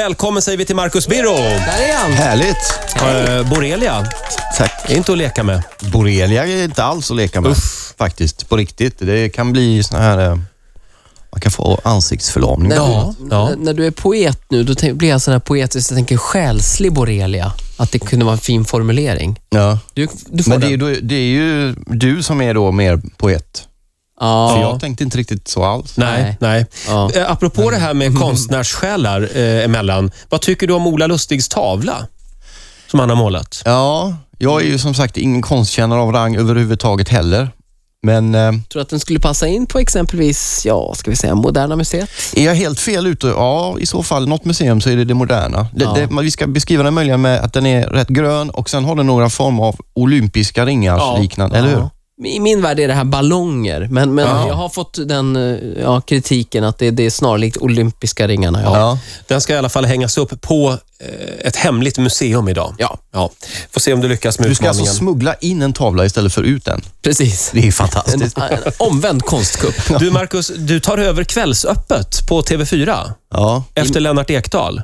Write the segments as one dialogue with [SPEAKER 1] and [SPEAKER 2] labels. [SPEAKER 1] Välkommen säger vi till Marcus Birro.
[SPEAKER 2] Där är han!
[SPEAKER 3] Härligt.
[SPEAKER 1] Eh, borrelia,
[SPEAKER 3] Tack.
[SPEAKER 1] är inte att leka med.
[SPEAKER 3] Borrelia är inte alls att leka med faktiskt. På riktigt. Det kan bli såna här... eh, Man kan få ansiktsförlamning.
[SPEAKER 2] När,
[SPEAKER 1] Ja,
[SPEAKER 2] du,
[SPEAKER 1] ja.
[SPEAKER 2] n- när du är poet nu, då tänk, blir jag sån här poetisk, jag tänker själslig borrelia. Att det kunde vara en fin formulering.
[SPEAKER 3] Ja.
[SPEAKER 2] Du, du får
[SPEAKER 3] Men det är,
[SPEAKER 2] den.
[SPEAKER 3] ju, då- det är ju du som är då mer poet. För
[SPEAKER 2] ja.
[SPEAKER 3] jag tänkte inte riktigt så alls.
[SPEAKER 1] Nej,
[SPEAKER 2] Nej.
[SPEAKER 1] nej.
[SPEAKER 2] Ja.
[SPEAKER 1] Eh, apropå det här med konstnärssjälar eh, emellan. Vad tycker du om Ola Lustigs tavla? Som han har målat.
[SPEAKER 3] Ja, jag är ju som sagt ingen konstkännare av rang överhuvudtaget heller. Men eh,
[SPEAKER 2] Tror du att den skulle passa in på exempelvis, ja, ska vi säga Moderna Museet?
[SPEAKER 3] är jag helt fel ute? Ja, i så fall. Något museum så är det det moderna. Det,
[SPEAKER 2] Ja.
[SPEAKER 3] det, man- vi ska beskriva den möjligen med att den är rätt grön och sen har den några form av olympiska ringar
[SPEAKER 1] Ja.
[SPEAKER 3] liknande, eller hur?
[SPEAKER 2] Ja. I min värld är det här ballonger, men, men
[SPEAKER 3] Ja.
[SPEAKER 2] jag har fått den eh, ja, kritiken att det, det är snarlikt olympiska ringarna. Ja.
[SPEAKER 3] Ja.
[SPEAKER 1] Den ska i alla fall hängas upp på eh, ett hemligt museum idag.
[SPEAKER 2] Ja.
[SPEAKER 1] ja. Får se om du lyckas med
[SPEAKER 3] Du ska alltså
[SPEAKER 1] utmaningen.
[SPEAKER 3] smuggla in en tavla istället för ut den.
[SPEAKER 2] precis.
[SPEAKER 3] Det är
[SPEAKER 2] En,
[SPEAKER 3] fantastiskt.
[SPEAKER 2] en omvänd konstkupp.
[SPEAKER 1] Du Marcus, du tar över Kvällsöppet på TV4
[SPEAKER 3] Ja.
[SPEAKER 1] efter Lennart Ekdal.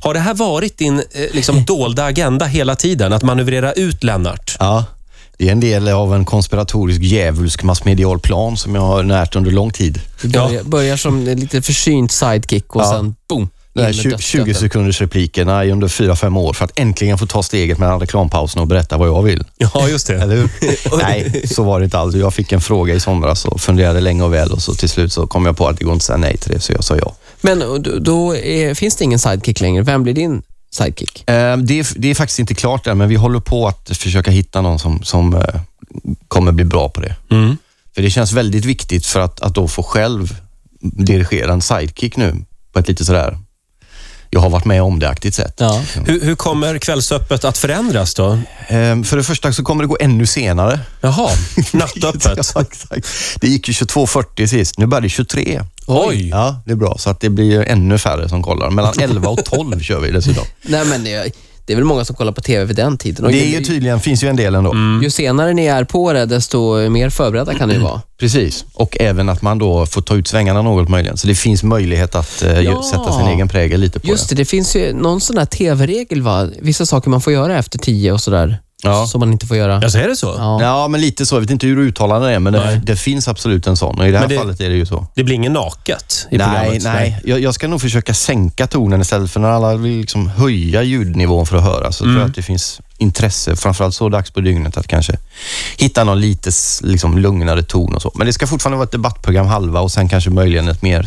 [SPEAKER 1] Har det här varit din eh, liksom, dolda agenda hela tiden? Att manövrera ut Lennart?
[SPEAKER 3] ja. Det är en del av en konspiratorisk djävulsk massmedial plan som jag har närt under lång tid.
[SPEAKER 2] Du
[SPEAKER 1] Ja.
[SPEAKER 2] börjar, börjar som en lite försynt sidekick och sen boom.
[SPEAKER 3] Den här
[SPEAKER 2] in med
[SPEAKER 3] 20,
[SPEAKER 2] dödsstöten.
[SPEAKER 3] 20 sekunders replikerna i under 4-5 år för att äntligen få ta steget mellan reklampausen och berätta vad jag vill.
[SPEAKER 1] Ja, just det.
[SPEAKER 3] Eller hur? nej, så var det inte alls. Jag fick en fråga i somras och funderade länge och väl och så till slut så kom jag på att det går inte att säga nej till det, så jag sa ja.
[SPEAKER 2] Men och då- då är, finns det ingen sidekick längre. Vem blir din sidekick?
[SPEAKER 3] Eh, Det är, det är faktiskt inte klart än, men vi håller på att försöka hitta någon som, som eh, kommer bli bra på det.
[SPEAKER 1] Mm.
[SPEAKER 3] För det känns väldigt viktigt för att, att då få själv dirigera en sidekick nu på ett lite sådär, jag har varit med om det-aktigt sätt.
[SPEAKER 2] Ja.
[SPEAKER 1] Hur, hur kommer Kvällsöppet att förändras då?
[SPEAKER 3] Ehm, För det första så kommer det gå ännu senare.
[SPEAKER 1] Jaha, nattöppet.
[SPEAKER 3] Ja, exakt. Det gick ju 22.40 sist, nu börjar det 23.
[SPEAKER 1] Oj!
[SPEAKER 3] Ja, det är bra. Så att det blir ju ännu färre som kollar. Mellan 11 och 12 kör vi dessutom.
[SPEAKER 2] Nej, men det, det är väl många som kollar på TV vid den tiden. Och
[SPEAKER 3] Det är
[SPEAKER 2] ju,
[SPEAKER 3] ju typ- tydligen, finns ju en del
[SPEAKER 1] Mm.
[SPEAKER 3] ändå.
[SPEAKER 2] ju senare ni är på det, desto mer förberedda kan ni vara.
[SPEAKER 3] Precis, och även att man då får ta ut svängarna något möjligen. Så det finns möjlighet att
[SPEAKER 2] Ja.
[SPEAKER 3] eh, ju- sätta sin egen prägel lite på
[SPEAKER 2] Just det, det finns ju någon sån där TV-regel, va? Vissa saker man får göra efter tio och sådär,
[SPEAKER 3] Ja.
[SPEAKER 2] som man inte får göra.
[SPEAKER 1] Jag säger det så?
[SPEAKER 2] Ja.
[SPEAKER 3] det. Ja, men lite så. Jag vet inte hur uttalande det är, men
[SPEAKER 1] Nej.
[SPEAKER 3] det, det finns absolut en sån. Och i det här
[SPEAKER 1] Men det-
[SPEAKER 3] fallet är det ju så.
[SPEAKER 1] Det blir inget naket i
[SPEAKER 3] Nej,
[SPEAKER 1] programmet?
[SPEAKER 3] nej. Jag, jag ska nog försöka sänka tonen istället för när alla vill liksom höja ljudnivån för att höra så tror jag att det finns intresse, framförallt så dags på dygnet, att kanske hitta någon lite s- liksom, lugnare ton och så. Men det ska fortfarande vara ett debattprogram halva och sen kanske möjligen ett mer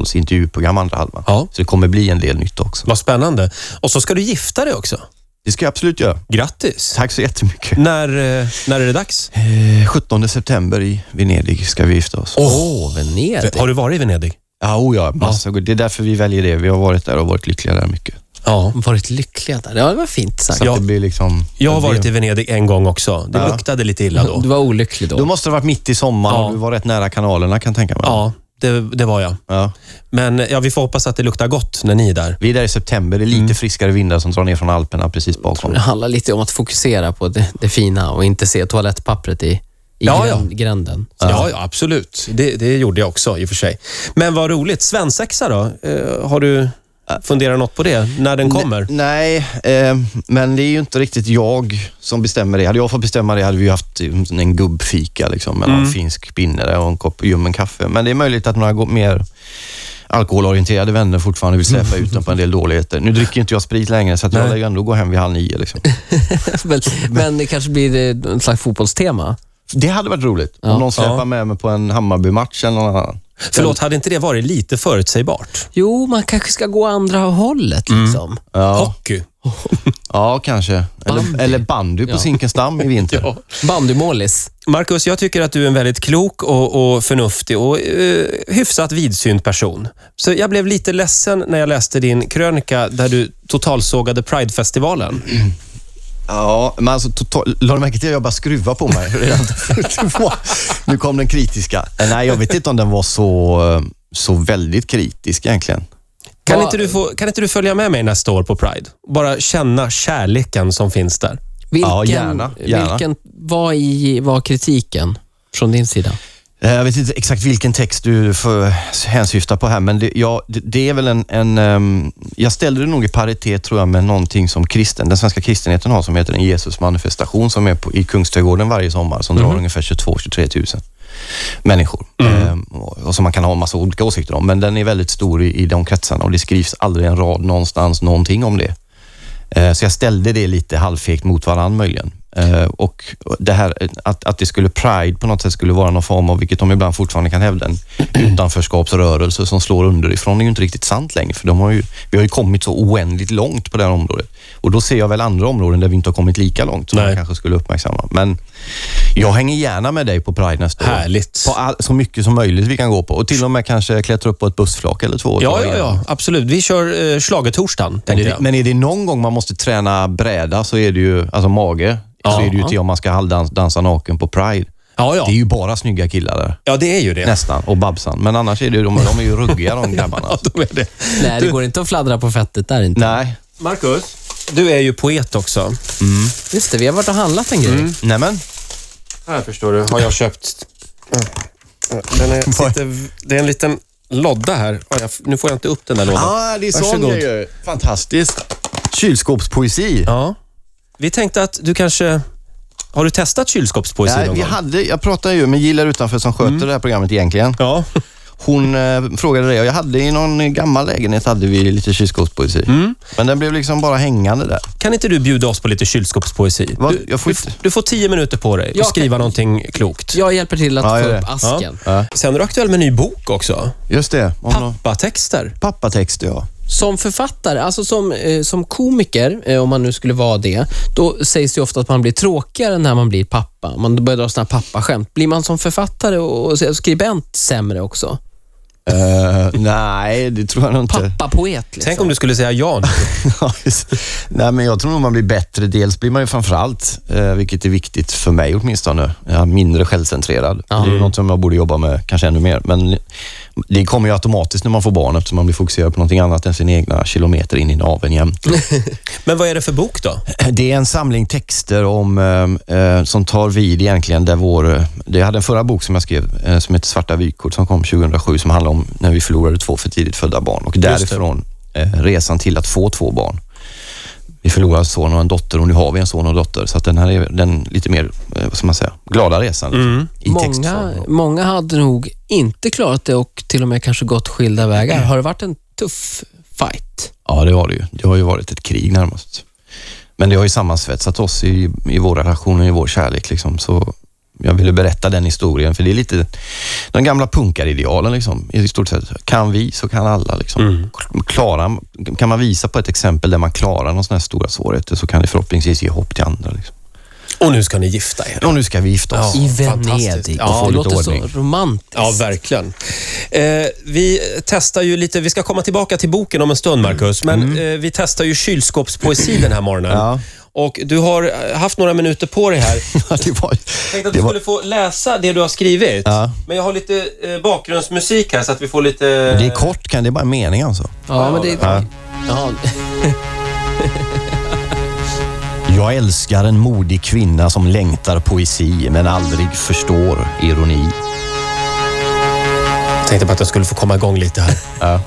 [SPEAKER 3] samtalsintervjuprogram andra halvan.
[SPEAKER 1] Ja.
[SPEAKER 3] Så det kommer bli en del nytt också.
[SPEAKER 1] Vad spännande. Och så ska du gifta dig också.
[SPEAKER 3] Det ska jag absolut göra.
[SPEAKER 1] Grattis!
[SPEAKER 3] Tack så jättemycket.
[SPEAKER 1] När, eh, när är det dags?
[SPEAKER 3] Eh, 17 september i Venedig ska vi gifta oss.
[SPEAKER 2] Åh, oh. Venedig.
[SPEAKER 1] Har du varit i Venedig?
[SPEAKER 3] Ja, oh ja, massa god- Det är därför vi väljer det. Vi har varit där och varit lyckliga där mycket.
[SPEAKER 1] Ja.
[SPEAKER 2] Varit lyckliga där. Ja, det var fint sagt.
[SPEAKER 3] Så
[SPEAKER 1] Ja.
[SPEAKER 3] att det blir liksom...
[SPEAKER 1] Jag har
[SPEAKER 3] det-
[SPEAKER 1] varit i Venedig en gång också. Det
[SPEAKER 3] Ja.
[SPEAKER 1] luktade lite illa då.
[SPEAKER 2] Du var olycklig då.
[SPEAKER 3] Då måste det ha varit mitt i sommaren
[SPEAKER 1] Ja.
[SPEAKER 3] och du var rätt nära kanalerna kan jag tänka mig.
[SPEAKER 1] Ja, det, det var jag.
[SPEAKER 3] Ja.
[SPEAKER 1] Men eh, ja, vi får hoppas att det luktar gott när ni är där.
[SPEAKER 3] Vi är där i september. Det är lite friskare vindar som drar ner från Alperna precis bakom.
[SPEAKER 2] Det handlar lite om att fokusera på det, det fina och inte se toalettpappret i, i
[SPEAKER 1] Ja, ja.
[SPEAKER 2] grän, gränden.
[SPEAKER 1] Ja, ja absolut. Det, det gjorde jag också i och för sig. Men vad roligt. Svensexa då? Eh, har du funderat något på det? När den kommer?
[SPEAKER 3] Nej, eh, men det är ju inte riktigt jag som bestämmer det. Hade jag fått bestämma det hade vi ju haft eh, en gubbfika liksom, med någon finsk pinnare och en kopp ljummen kaffe. Men det är möjligt att några gå- mer alkoholorienterade vänner fortfarande vill släppa ut den på en del dåligheter. Nu dricker ju inte jag sprit längre, så att jag
[SPEAKER 1] Nej.
[SPEAKER 3] lär ju ändå gå hem vid halv nio. Liksom.
[SPEAKER 2] men, men det kanske blir eh, en slags fotbollstema.
[SPEAKER 3] Det hade varit roligt
[SPEAKER 2] Ja.
[SPEAKER 3] om någon släpar
[SPEAKER 1] Ja.
[SPEAKER 3] med mig på en Hammarby-match eller någon annan.
[SPEAKER 1] Förlåt, hade inte det varit lite förutsägbart?
[SPEAKER 2] Jo, man kanske ska gå andra hållet
[SPEAKER 3] Mm.
[SPEAKER 2] liksom.
[SPEAKER 3] Ja,
[SPEAKER 1] Hockey.
[SPEAKER 3] ja kanske.
[SPEAKER 2] Bandy.
[SPEAKER 3] Eller, eller bandy på
[SPEAKER 2] Ja.
[SPEAKER 3] Zinkensdamm i vinter. ja.
[SPEAKER 2] Bandymålis.
[SPEAKER 1] Marcus, jag tycker att du är en väldigt klok och, och förnuftig och eh, hyfsat vidsynt person. Så jag blev lite ledsen när jag läste din krönika där du totalsågade Pridefestivalen.
[SPEAKER 3] men alltså total, la du märke till att jag bara skruva på mig? redan? nu kom den kritiska. Eh, Nej, jag vet inte om den var så, eh, så väldigt kritisk egentligen.
[SPEAKER 1] Kan
[SPEAKER 2] Ja.
[SPEAKER 1] inte, du få, kan inte du följa med mig nästa år på Pride? Bara känna kärleken som finns där.
[SPEAKER 2] Vilken,
[SPEAKER 3] Ja, gärna, gärna.
[SPEAKER 2] vilken var, i, var kritiken från din sida?
[SPEAKER 3] Eh, Jag vet inte exakt vilken text du för, hänsyftar på här, men det, ja, det, det är väl en... en ehm, jag ställer det nog i paritet, tror jag, med någonting som kristen, den svenska kristenheten har som heter en Jesusmanifestation som är på, i Kungsträdgården varje sommar som drar ungefär 22-23 000 människor
[SPEAKER 1] Mm.
[SPEAKER 3] ehm, och, och som man kan ha en massa olika åsikter om. Men den är väldigt stor i, i de kretsarna och det skrivs aldrig en rad någonstans någonting om det. Eh, Så jag ställde det lite halvfegt mot varandra möjligen. Eh, Och det här eh, att, att det skulle Pride på något sätt skulle vara någon form av, vilket de ibland fortfarande kan hävda, en utanförskapsrörelse som slår underifrån är ju inte riktigt sant längre. För de har ju, vi har ju kommit så oändligt långt på det här området. Och då ser jag väl andra områden där vi inte har kommit lika långt som
[SPEAKER 1] Nej.
[SPEAKER 3] man kanske skulle uppmärksamma. Men jag hänger gärna med dig på Pride nästa år.
[SPEAKER 1] Härligt.
[SPEAKER 3] På all, så mycket som möjligt vi kan gå på. Och till och med kanske klättra upp på ett bussflak eller två.
[SPEAKER 1] Ja, ja, ja, absolut. Vi kör eh, schlagertorsdagen,
[SPEAKER 3] Men
[SPEAKER 1] tänkte
[SPEAKER 3] är, det,
[SPEAKER 1] jag.
[SPEAKER 3] men är det någon gång man måste träna bräda så är det ju, alltså mage, så
[SPEAKER 1] Ja.
[SPEAKER 3] är det ju till om man ska halvdans, dansa naken på Pride.
[SPEAKER 1] Ja, ja.
[SPEAKER 3] Det är ju bara snygga killar där.
[SPEAKER 1] ja, det är ju det.
[SPEAKER 3] Nästan. Och Babsan. Men annars är det ju, de, de är ju ruggiga de grabbarna.
[SPEAKER 1] Ja, de är det.
[SPEAKER 2] Nej, det går inte att fladdra på fettet där inte.
[SPEAKER 3] Nej.
[SPEAKER 1] Marcus, du är ju poet också.
[SPEAKER 2] Just det, vi har varit och handlat en grej.
[SPEAKER 3] Nämen.
[SPEAKER 1] Här förstår du har jag köpt. Den är, sitter, det är en liten lodda här. Oj, jag- Nu får jag inte upp den där lådan.
[SPEAKER 3] Ja, ah, det är sån
[SPEAKER 1] Varsågod.
[SPEAKER 3] grejer. Fantastiskt. Kylskåpspoesi.
[SPEAKER 1] Ja. Vi tänkte att du kanske... Har du testat kylskåpspoesi
[SPEAKER 3] Nej,
[SPEAKER 1] någon
[SPEAKER 3] vi
[SPEAKER 1] gång?
[SPEAKER 3] hade, jag pratade ju med Gillar utanför som sköter det här programmet egentligen.
[SPEAKER 1] Ja.
[SPEAKER 3] Hon eh, frågade det och jag hade i någon gammal lägenhet hade vi lite kylskåpspoesi. Men den blev liksom bara hängande där.
[SPEAKER 1] Kan inte du bjuda oss på lite kylskåpspoesi?
[SPEAKER 3] Vad?
[SPEAKER 1] Du,
[SPEAKER 3] Jag får
[SPEAKER 1] du,
[SPEAKER 3] inte-
[SPEAKER 1] du får tio minuter på dig
[SPEAKER 2] Jag
[SPEAKER 1] att
[SPEAKER 2] kan-
[SPEAKER 1] skriva någonting klokt.
[SPEAKER 2] Jag hjälper till att
[SPEAKER 3] Ja,
[SPEAKER 2] få
[SPEAKER 3] gör
[SPEAKER 2] upp
[SPEAKER 3] det.
[SPEAKER 2] asken.
[SPEAKER 3] Ja.
[SPEAKER 1] Sen är du aktuell med en ny bok också.
[SPEAKER 3] Just det. Om någon-
[SPEAKER 1] Pappatexter.
[SPEAKER 3] Pappatext, ja.
[SPEAKER 2] Som författare, alltså som, eh, som komiker, eh, om man nu skulle vara det, då sägs det ju ofta att man blir tråkigare när man blir pappa. Man börjar dra såna här pappaskämt. Blir man som författare och och skribent sämre också?
[SPEAKER 3] Eh, nej, det tror jag nog inte.
[SPEAKER 2] Pappapoet liksom.
[SPEAKER 1] Tänk om du skulle säga ja nu.
[SPEAKER 3] Ja, just. nej, men jag tror nog man blir bättre. Dels blir man ju framförallt, eh, vilket är viktigt för mig åtminstone, ja, mindre självcentrerad. Det är något som jag borde jobba med kanske ännu mer. Men det kommer ju automatiskt när man får barn eftersom man blir fokuserad på någonting annat än sina egna kilometer in i naveln jämt.
[SPEAKER 1] Men vad är det för bok då?
[SPEAKER 3] Det är en samling texter om, eh, eh, som tar vid egentligen där vår... eh, Jag hade en förra bok som jag skrev eh, som heter Svarta vykort som kom 2007 som handlar om när vi förlorade två för tidigt födda barn och därifrån eh, resan till att få två barn. Vi förlorade en son och en dotter och nu har vi en son och en dotter. Så att den här är den lite mer, eh, vad ska man säga, glada resan liksom, i
[SPEAKER 2] många,
[SPEAKER 3] textform. då.
[SPEAKER 2] många hade nog inte klarat det och till och med kanske gått skilda vägar. Har det varit en tuff fight?
[SPEAKER 3] Ja, det var det ju. Det har ju varit ett krig närmast. Men det har ju sammansvetsat oss i, i vår relation och i vår kärlek. Liksom. Så jag ville berätta den historien, för det är lite de gamla punkaridealen liksom, i stort sett. Kan vi så kan alla. Liksom.
[SPEAKER 1] Mm.
[SPEAKER 3] Klara, kan man visa på ett exempel där man klarar någon sån här stora svårigheter så kan det förhoppningsvis ge hopp till andra. Liksom.
[SPEAKER 1] Och nu ska ni gifta er.
[SPEAKER 3] Och nu ska vi gifta oss.
[SPEAKER 1] Ja,
[SPEAKER 2] I
[SPEAKER 1] fantastiskt.
[SPEAKER 2] Venedig.
[SPEAKER 1] Ja,
[SPEAKER 2] det
[SPEAKER 3] lite
[SPEAKER 2] låter
[SPEAKER 3] ordning.
[SPEAKER 2] så romantiskt.
[SPEAKER 1] Ja, verkligen. Eh, vi testar ju lite, vi ska komma tillbaka till boken om en stund, Marcus, men eh, vi testar ju kylskåpspoesi den här morgonen.
[SPEAKER 3] Ja.
[SPEAKER 1] Och du har eh, haft några minuter på dig här. Jag
[SPEAKER 3] det var,
[SPEAKER 1] tänkte att
[SPEAKER 3] det
[SPEAKER 1] du
[SPEAKER 3] var,
[SPEAKER 1] skulle få läsa det du har skrivit.
[SPEAKER 3] Ja.
[SPEAKER 1] Men jag har lite eh, bakgrundsmusik här så att vi får lite...
[SPEAKER 3] det är kort, kan det är bara en mening alltså.
[SPEAKER 2] Ja, men det...
[SPEAKER 3] Ja.
[SPEAKER 2] Ja.
[SPEAKER 3] Jag älskar en modig kvinna som längtar poesi men aldrig förstår ironi.
[SPEAKER 1] Jag tänkte bara att jag skulle få komma igång lite här.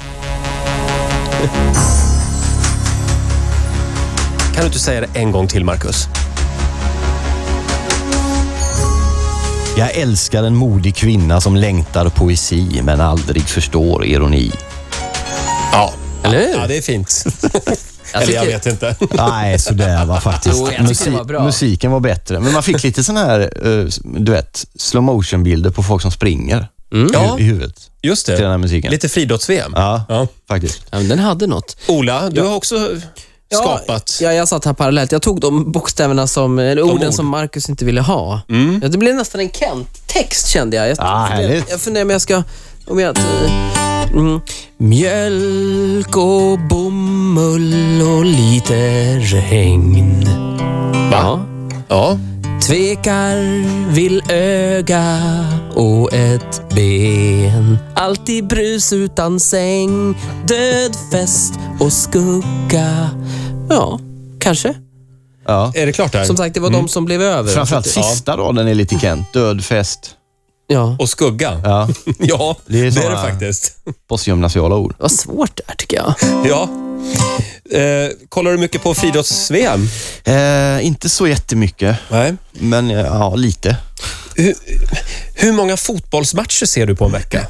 [SPEAKER 1] Kan du inte säga det en gång till, Marcus?
[SPEAKER 3] Jag älskar en modig kvinna som längtar poesi men aldrig förstår ironi.
[SPEAKER 1] Ja.
[SPEAKER 2] Eller hur?
[SPEAKER 1] Ja, det är fint. Alltså,
[SPEAKER 2] Jag
[SPEAKER 1] Eller jag
[SPEAKER 2] tycker-
[SPEAKER 1] vet inte.
[SPEAKER 3] Nej, sådär var faktiskt.
[SPEAKER 2] Jo, jag tycker det var bra.
[SPEAKER 3] Musiken var bättre, men man fick lite sån här, eh, du vet, slow motion bilder på folk som springer
[SPEAKER 2] Mm.
[SPEAKER 3] i,
[SPEAKER 1] Ja.
[SPEAKER 3] i huvudet.
[SPEAKER 1] Just
[SPEAKER 3] Till den här
[SPEAKER 1] det.
[SPEAKER 3] musiken.
[SPEAKER 1] Lite friidrotts-VM.
[SPEAKER 3] Ja,
[SPEAKER 1] Ja.
[SPEAKER 3] faktiskt.
[SPEAKER 2] Ja, men den hade något.
[SPEAKER 1] Ola, du har också skapat...
[SPEAKER 2] Ja, jag satt här parallellt. Jag tog de bokstäverna som, eller orden
[SPEAKER 1] ord.
[SPEAKER 2] som Marcus inte ville ha. Ja, det blev nästan en Kent-text kände jag. Jag,
[SPEAKER 3] Mm. Ah,
[SPEAKER 2] jag,
[SPEAKER 3] härligt.
[SPEAKER 2] jag funderar om jag ska... Om jag, mm. Mjölk och bomull och lite regn. Ja.
[SPEAKER 1] Ja.
[SPEAKER 2] Tvekar, vill öga och ett ben. Alltid brus utan säng, död fest och skugga. Ja, kanske.
[SPEAKER 3] Ja.
[SPEAKER 1] Är det klart där?
[SPEAKER 2] Som sagt, det var de som blev över.
[SPEAKER 3] Framförallt sista raden är lite Kent. Död fest.
[SPEAKER 2] Ja.
[SPEAKER 1] och skugga.
[SPEAKER 3] Ja,
[SPEAKER 1] Ja,
[SPEAKER 3] Det
[SPEAKER 1] det
[SPEAKER 3] är
[SPEAKER 1] är det,
[SPEAKER 3] såna-
[SPEAKER 1] faktiskt.
[SPEAKER 3] postgymnasiala ord.
[SPEAKER 2] Vad svårt det här tycker jag.
[SPEAKER 1] Ja. Eh, kollar du mycket på friidrotts-VM?
[SPEAKER 3] Eh, inte så jättemycket,
[SPEAKER 1] Nej.
[SPEAKER 3] men eh, ja, lite.
[SPEAKER 1] Hur, hur många fotbollsmatcher ser du på en vecka?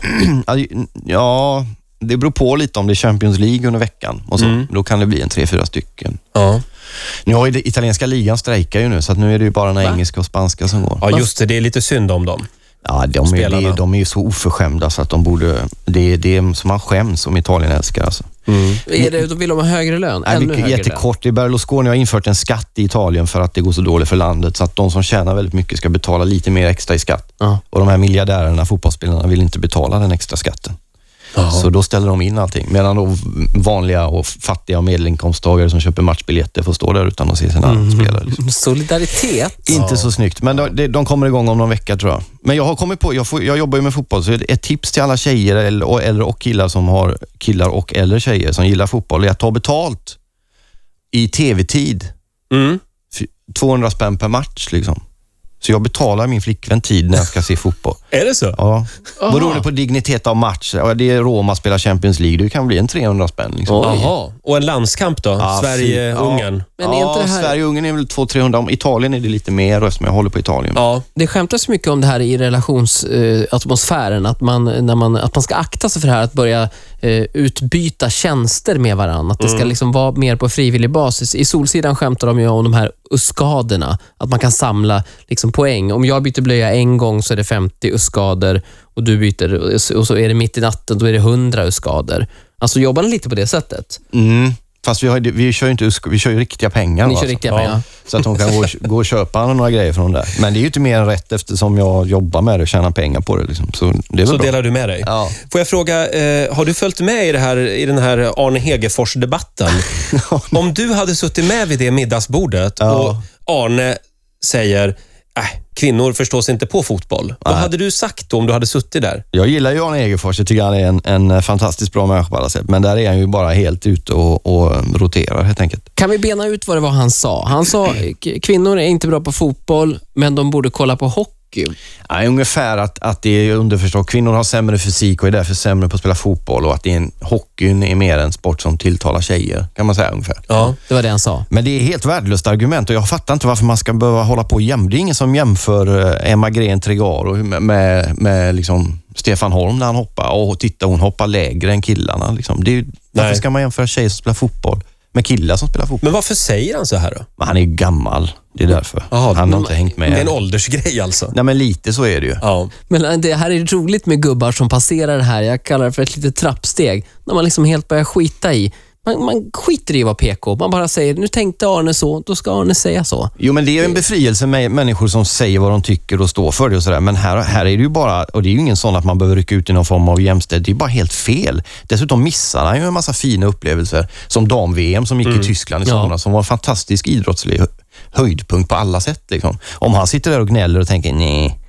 [SPEAKER 3] Ja, det beror på lite om det är Champions League under veckan och så.
[SPEAKER 1] Mm.
[SPEAKER 3] Då kan det bli en tre, fyra stycken.
[SPEAKER 1] Ja,
[SPEAKER 3] Nu har ju det- italienska ligan strejkar ju nu, så att nu är det ju bara den engelska och spanska som går.
[SPEAKER 1] ja just det. Det är lite synd om dem.
[SPEAKER 3] Ja, de är,
[SPEAKER 1] Spelarna.
[SPEAKER 3] de, de är ju så oförskämda så att de borde... Det, är- det är som man skäms om Italien älskar alltså.
[SPEAKER 2] Är det, då vill de ha högre lön?
[SPEAKER 3] Nej,
[SPEAKER 2] Ännu
[SPEAKER 3] det är
[SPEAKER 2] högre lön?
[SPEAKER 3] jättekort. I Berlusconi har infört en skatt i Italien för att det går så dåligt för landet, så att de som tjänar väldigt mycket ska betala lite mer extra i skatt.
[SPEAKER 2] Ja.
[SPEAKER 3] Och de här miljardärerna, fotbollsspelarna, vill inte betala den extra skatten. Så då ställer de in allting. Medan då vanliga och fattiga och medelinkomsttagare som köper matchbiljetter får stå där utan att se sina
[SPEAKER 2] Mm.
[SPEAKER 3] spelare. Liksom.
[SPEAKER 2] Solidaritet?
[SPEAKER 3] Inte så snyggt, men de- de, de kommer igång om någon vecka tror jag. Men jag har kommit på, jag, får, jag jobbar ju med fotboll, så ett ett tips till alla tjejer eller, och, eller och killar som har killar och eller tjejer som gillar fotboll är att ta betalt i tv-tid.
[SPEAKER 1] Mm.
[SPEAKER 3] Fy- 200 spänn per match liksom. Så jag betalar min flickvän tid när jag ska se fotboll.
[SPEAKER 1] Är det så?
[SPEAKER 3] Ja.
[SPEAKER 2] Aha.
[SPEAKER 3] Beroende på dignitet av match. Ja, Det är Roma spelar Champions League, det kan bli en 300 spänn. Liksom.
[SPEAKER 2] Oj.
[SPEAKER 1] Jaha. Och en landskamp då?
[SPEAKER 3] Ja, fy- ja.
[SPEAKER 1] Sverige-Ungern?
[SPEAKER 2] Men är
[SPEAKER 3] ja,
[SPEAKER 2] inte det här-
[SPEAKER 3] Sverige och Ungern är väl 200-300. Om Italien är det lite mer och eftersom jag håller på Italien.
[SPEAKER 1] Ja.
[SPEAKER 2] Det skämtas mycket om det här i relationsatmosfären, eh, atmosfären, att, man, när man, att man ska akta sig för det här att börja eh, utbyta tjänster med varandra. Att det ska liksom vara mer på frivillig basis. I Solsidan skämtar de ju om de här uskaderna, att man kan samla liksom, poäng. Om jag byter blöja en gång så är det 50 uskader och du byter och så- och så är det mitt i natten, då är det 100 uskader. Alltså jobbar ni lite på det sättet?
[SPEAKER 3] Mm. Fast vi, har, vi kör ju inte usk- vi kör ju riktiga pengar.
[SPEAKER 2] Ni
[SPEAKER 3] va,
[SPEAKER 2] kör
[SPEAKER 3] alltså.
[SPEAKER 2] riktiga
[SPEAKER 1] ja.
[SPEAKER 2] pengar?
[SPEAKER 3] Så att hon kan gå och, gå och köpa några grejer från där. Men det är ju inte mer än rätt eftersom jag jobbar med det och tjänar pengar på det. Liksom. Så det är väl
[SPEAKER 1] Så
[SPEAKER 3] bra.
[SPEAKER 1] delar du med dig.
[SPEAKER 3] Ja.
[SPEAKER 1] Får jag fråga, eh, har du följt med i, det här, i den här Arne Hegerfors-debatten? Om du hade suttit med vid det middagsbordet och Arne säger äh, kvinnor förstår sig inte på fotboll. Vad hade du sagt då om du hade suttit där?
[SPEAKER 3] Jag gillar ju Arne Egerfors. Jag tycker han är en, en fantastiskt bra människa på alla sätt. Men där är han ju bara helt ute och, och roterar helt enkelt.
[SPEAKER 2] Kan vi bena ut vad det var han sa? Han sa k- kvinnor är inte bra på fotboll, men de borde kolla på hockey.
[SPEAKER 3] Ja, ungefär att, att det är underförstått. Kvinnor har sämre fysik och är därför sämre på att spela fotboll och att det är en, hockeyn är mer en sport som tilltalar tjejer, kan man säga ungefär.
[SPEAKER 1] Ja.
[SPEAKER 2] Det var det han sa.
[SPEAKER 3] Men det är helt värdelöst argument och jag fattar inte varför man ska behöva hålla på och jäm. Det är ingen som jämför eh, Emma Gren Tregaro med, med, med liksom Stefan Holm när han hoppar. Och titta, hon hoppar lägre än killarna. Liksom. Det är, ju- varför
[SPEAKER 1] Nej.
[SPEAKER 3] ska man jämföra tjejer som spelar fotboll med killar som spelar fotboll?
[SPEAKER 1] Men varför säger han så här då?
[SPEAKER 3] Men han är ju gammal. Det är därför.
[SPEAKER 1] Jaha,
[SPEAKER 3] han har
[SPEAKER 1] men-
[SPEAKER 3] inte hängt
[SPEAKER 1] Det är en
[SPEAKER 3] med.
[SPEAKER 1] åldersgrej alltså.
[SPEAKER 3] Nej, men lite så är det ju.
[SPEAKER 1] Ja.
[SPEAKER 2] Men äh, det här är roligt med gubbar som passerar det här. Jag kallar det för ett litet trappsteg. När man liksom helt börjar skita i. Man, man skiter i att vara PK. Man bara säger, nu tänkte Arne så, då ska Arne säga så.
[SPEAKER 3] Jo, men det är ju en befrielse med människor som säger vad de tycker och står för det och sådär. Men här, här är det ju bara, och det är ju ingen sån att man behöver rycka ut i någon form av jämställdhet. Det är bara helt fel. Dessutom missar han ju en massa fina upplevelser. Som dam-VM som gick i Tyskland i
[SPEAKER 2] Ja.
[SPEAKER 3] somras, som var en fantastisk idrottslig hö- höjdpunkt på alla sätt. Liksom. Om han sitter där och gnäller och tänker, nej,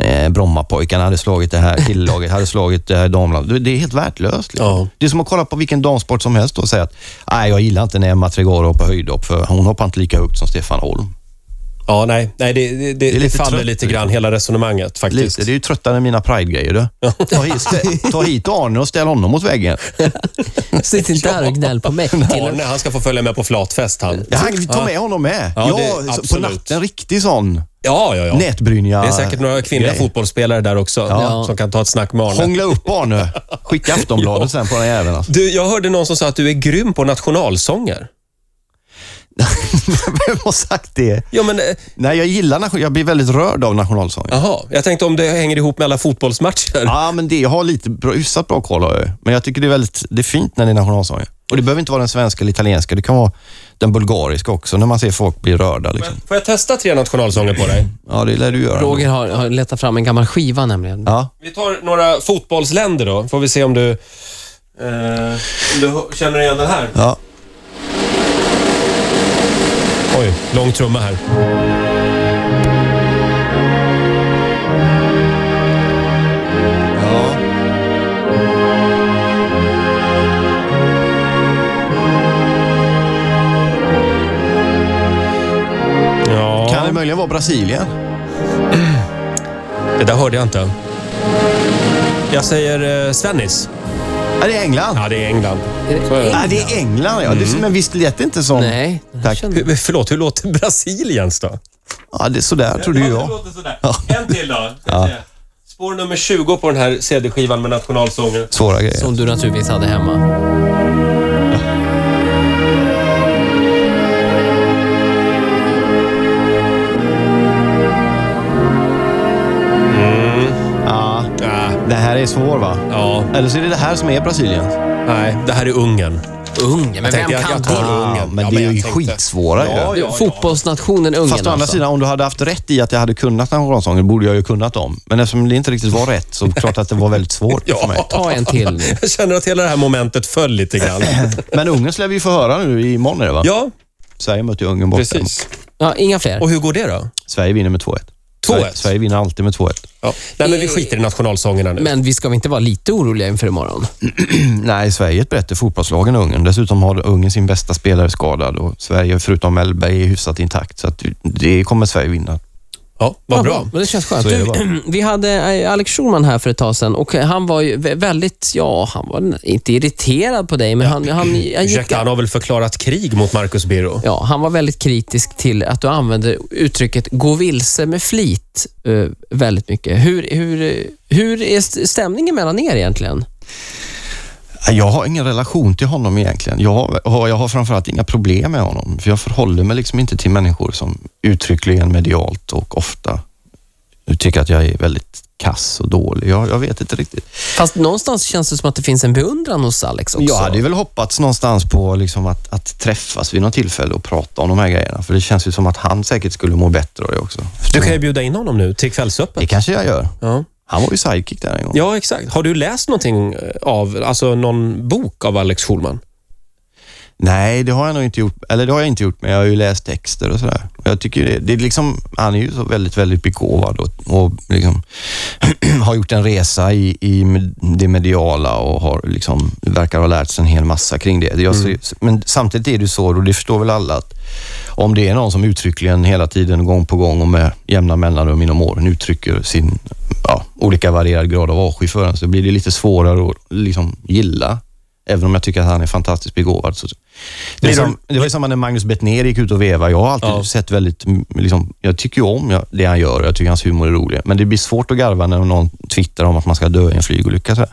[SPEAKER 3] eh, Brommapojkarna hade slagit det här killlaget, hade slagit det här damlaget. Det är helt värdelöst. Liksom.
[SPEAKER 1] Ja.
[SPEAKER 3] Det är som att kolla på vilken damsport som helst och säga att, nej, jag gillar inte när Emma Tregaro hoppar höjdhopp, för hon hoppar inte lika högt som Stefan Holm.
[SPEAKER 1] Ja, nej, nej det, det, det, det
[SPEAKER 3] lite
[SPEAKER 1] faller
[SPEAKER 3] trött,
[SPEAKER 1] lite grann, hela resonemanget faktiskt.
[SPEAKER 3] Lite, det är ju tröttare än mina Pride-grejer du. Ta hit, stä- ta hit Arne och ställ honom mot väggen.
[SPEAKER 2] Sitt inte här och gnäll på mig. Till,
[SPEAKER 1] Arne, han ska få följa med på flatfest han.
[SPEAKER 3] Ja, han, ta med honom med.
[SPEAKER 1] Ja,
[SPEAKER 3] Ja,
[SPEAKER 1] det-
[SPEAKER 3] så- på
[SPEAKER 1] absolut.
[SPEAKER 3] natten, riktig sån
[SPEAKER 1] Ja, ja, ja.
[SPEAKER 3] nätbrynja.
[SPEAKER 1] Det är säkert några kvinnliga fotbollsspelare där också som kan ta ett snack med Arne.
[SPEAKER 3] Hångla upp Arne. Skicka Aftonbladet sen på den jäveln. Alltså.
[SPEAKER 1] Du, jag hörde någon som sa att du är grym på nationalsånger.
[SPEAKER 3] Vem har sagt det?
[SPEAKER 1] Ja, men, eh,
[SPEAKER 3] Nej, jag gillar nation- Jag blir väldigt rörd av nationalsången.
[SPEAKER 1] jaha. Jag tänkte om det hänger ihop med alla fotbollsmatcher.
[SPEAKER 3] Ja, men det jag har lite bra, hyfsat bra koll har jag ju. Men jag tycker det är väldigt det är fint när det är nationalsången. Och det behöver inte vara den svenska eller italienska. Det kan vara den bulgariska också, när man ser folk bli rörda. Liksom.
[SPEAKER 1] Får jag testa tre nationalsånger på dig?
[SPEAKER 3] Ja, det lär du göra.
[SPEAKER 2] Roger har, har letat fram en gammal skiva nämligen.
[SPEAKER 3] Ja.
[SPEAKER 1] Vi tar några fotbollsländer då, får vi se om du, eh, om du hö- känner igen den här.
[SPEAKER 3] Ja.
[SPEAKER 1] Oj, lång trumma här.
[SPEAKER 3] Ja.
[SPEAKER 1] Ja.
[SPEAKER 3] Kan det möjligen vara Brasilien?
[SPEAKER 1] Det där hörde jag inte. Jag säger eh, Svennis.
[SPEAKER 3] Ja, det är England.
[SPEAKER 1] Ja, Mm. det är England.
[SPEAKER 2] Är det
[SPEAKER 1] Så är det.
[SPEAKER 2] England?
[SPEAKER 3] Ja, det är England ja. Det, men visst lät det inte som...
[SPEAKER 2] Nej, den här
[SPEAKER 3] Tack.
[SPEAKER 2] kände-
[SPEAKER 1] Hur, förlåt, hur låter Brasiliens då?
[SPEAKER 3] Ja, det, sådär trodde ju jag.
[SPEAKER 1] En till då. Spår nummer 20 på den här CD-skivan med nationalsånger.
[SPEAKER 3] Svåra grejer.
[SPEAKER 2] som du naturligtvis hade hemma.
[SPEAKER 3] Ja,
[SPEAKER 1] Ah,
[SPEAKER 3] det här är svår va?
[SPEAKER 1] ja,
[SPEAKER 3] Eller så är det det här som är Brasilien.
[SPEAKER 1] nej. Det här är Ungern.
[SPEAKER 2] Ungern, men
[SPEAKER 1] tänkte
[SPEAKER 2] vem
[SPEAKER 1] jag-
[SPEAKER 2] kan
[SPEAKER 1] jag tar
[SPEAKER 2] det?
[SPEAKER 1] Ungern.
[SPEAKER 3] Ja, men
[SPEAKER 1] Ja,
[SPEAKER 3] det
[SPEAKER 1] men
[SPEAKER 3] är
[SPEAKER 1] jag
[SPEAKER 3] ju
[SPEAKER 1] tänkte-
[SPEAKER 3] skitsvåra
[SPEAKER 1] Ja,
[SPEAKER 3] ju.
[SPEAKER 1] ja, ja.
[SPEAKER 2] Fotbollsnationen Ungern
[SPEAKER 3] Fast å andra
[SPEAKER 2] alltså.
[SPEAKER 3] sidan, om du hade haft rätt i att jag hade kunnat nationalsånger borde jag ju kunnat dem. Men eftersom det inte riktigt var rätt så klart att det var väldigt svårt för mig.
[SPEAKER 2] Ta en till nu.
[SPEAKER 1] Jag känner att hela det här momentet föll lite grann.
[SPEAKER 3] Men Ungern lär vi ju få höra nu imorgon är det va?
[SPEAKER 1] Ja,
[SPEAKER 3] Sverige möter ju Ungern borta.
[SPEAKER 1] precis.
[SPEAKER 2] Ja, inga fler.
[SPEAKER 1] Och hur går det då?
[SPEAKER 3] Sverige vinner med 2-1.
[SPEAKER 1] 2-1.
[SPEAKER 3] Sverige, Sverige vinner alltid med 2-1.
[SPEAKER 1] Ja. Nej, men vi skiter i nationalsångerna nu.
[SPEAKER 2] Men vi ska väl inte vara lite oroliga inför imorgon?
[SPEAKER 3] Nej, Sverige är ett bättre fotbollslag än Ungern. Dessutom har Ungern sin bästa spelare skadad och Sverige, förutom Mellberg, är hyfsat intakt. Så att det kommer Sverige vinna.
[SPEAKER 1] Ja, vad bra.
[SPEAKER 2] Men det känns skönt.
[SPEAKER 3] Så är det
[SPEAKER 2] Du, vi hade eh, Alex Schulman här för ett tag sedan och eh, han var ju vä- väldigt, ja, han var inte irriterad på dig, men han, han, han gick...
[SPEAKER 1] Ursäkta, han har väl förklarat krig mot Marcus Birro?
[SPEAKER 2] Ja, han var väldigt kritisk till att du använde uttrycket gå vilse med flit eh, väldigt mycket. Hur, hur, eh, hur är st- stämningen mellan er egentligen?
[SPEAKER 3] Jag har ingen relation till honom egentligen. Jag har, jag har framförallt inga problem med honom. För jag förhåller mig liksom inte till människor som uttryckligen medialt och ofta tycker att jag är väldigt kass och dålig. Jag, jag vet inte riktigt.
[SPEAKER 2] Fast någonstans känns det som att det finns en beundran hos Alex också.
[SPEAKER 3] Jag hade ju väl hoppats någonstans på liksom att, att träffas vid något tillfälle och prata om de här grejerna. För det känns ju som att han säkert skulle må bättre av det också.
[SPEAKER 1] Du kan ju bjuda in honom nu till kvällsöppet.
[SPEAKER 3] Det kanske jag gör.
[SPEAKER 1] Ja.
[SPEAKER 3] Han var ju sidekick där en gång.
[SPEAKER 1] ja, exakt. Har du läst någonting av, alltså någon bok av Alex Schulman?
[SPEAKER 3] Nej, det har jag nog inte gjort. Eller det har jag inte gjort, men jag har ju läst texter och sådär. Och Jag tycker ju det, det är liksom, han är ju så väldigt, väldigt begåvad och, och liksom har gjort en resa i, i det mediala och har liksom, verkar ha lärt sig en hel massa kring det. Jag, ser- Men samtidigt är det ju så, och det förstår väl alla, att om det är någon som uttryckligen hela tiden, gång på gång och med jämna mellanrum inom åren uttrycker sin ja, olika varierad grad av avsky för en, så blir det lite svårare att liksom gilla. Även om jag tycker att han är fantastiskt begåvad. Så, det, är
[SPEAKER 1] Liksom-
[SPEAKER 3] som, det var ju samma när Magnus Bettner gick ut och vevade. Jag har alltid
[SPEAKER 1] Ja.
[SPEAKER 3] sett väldigt... mm, Liksom, jag tycker ju om jag- det han gör och jag tycker hans humor är rolig. Men det blir svårt att garva när någon twittrar om att man ska dö i en flygolycka. Så här.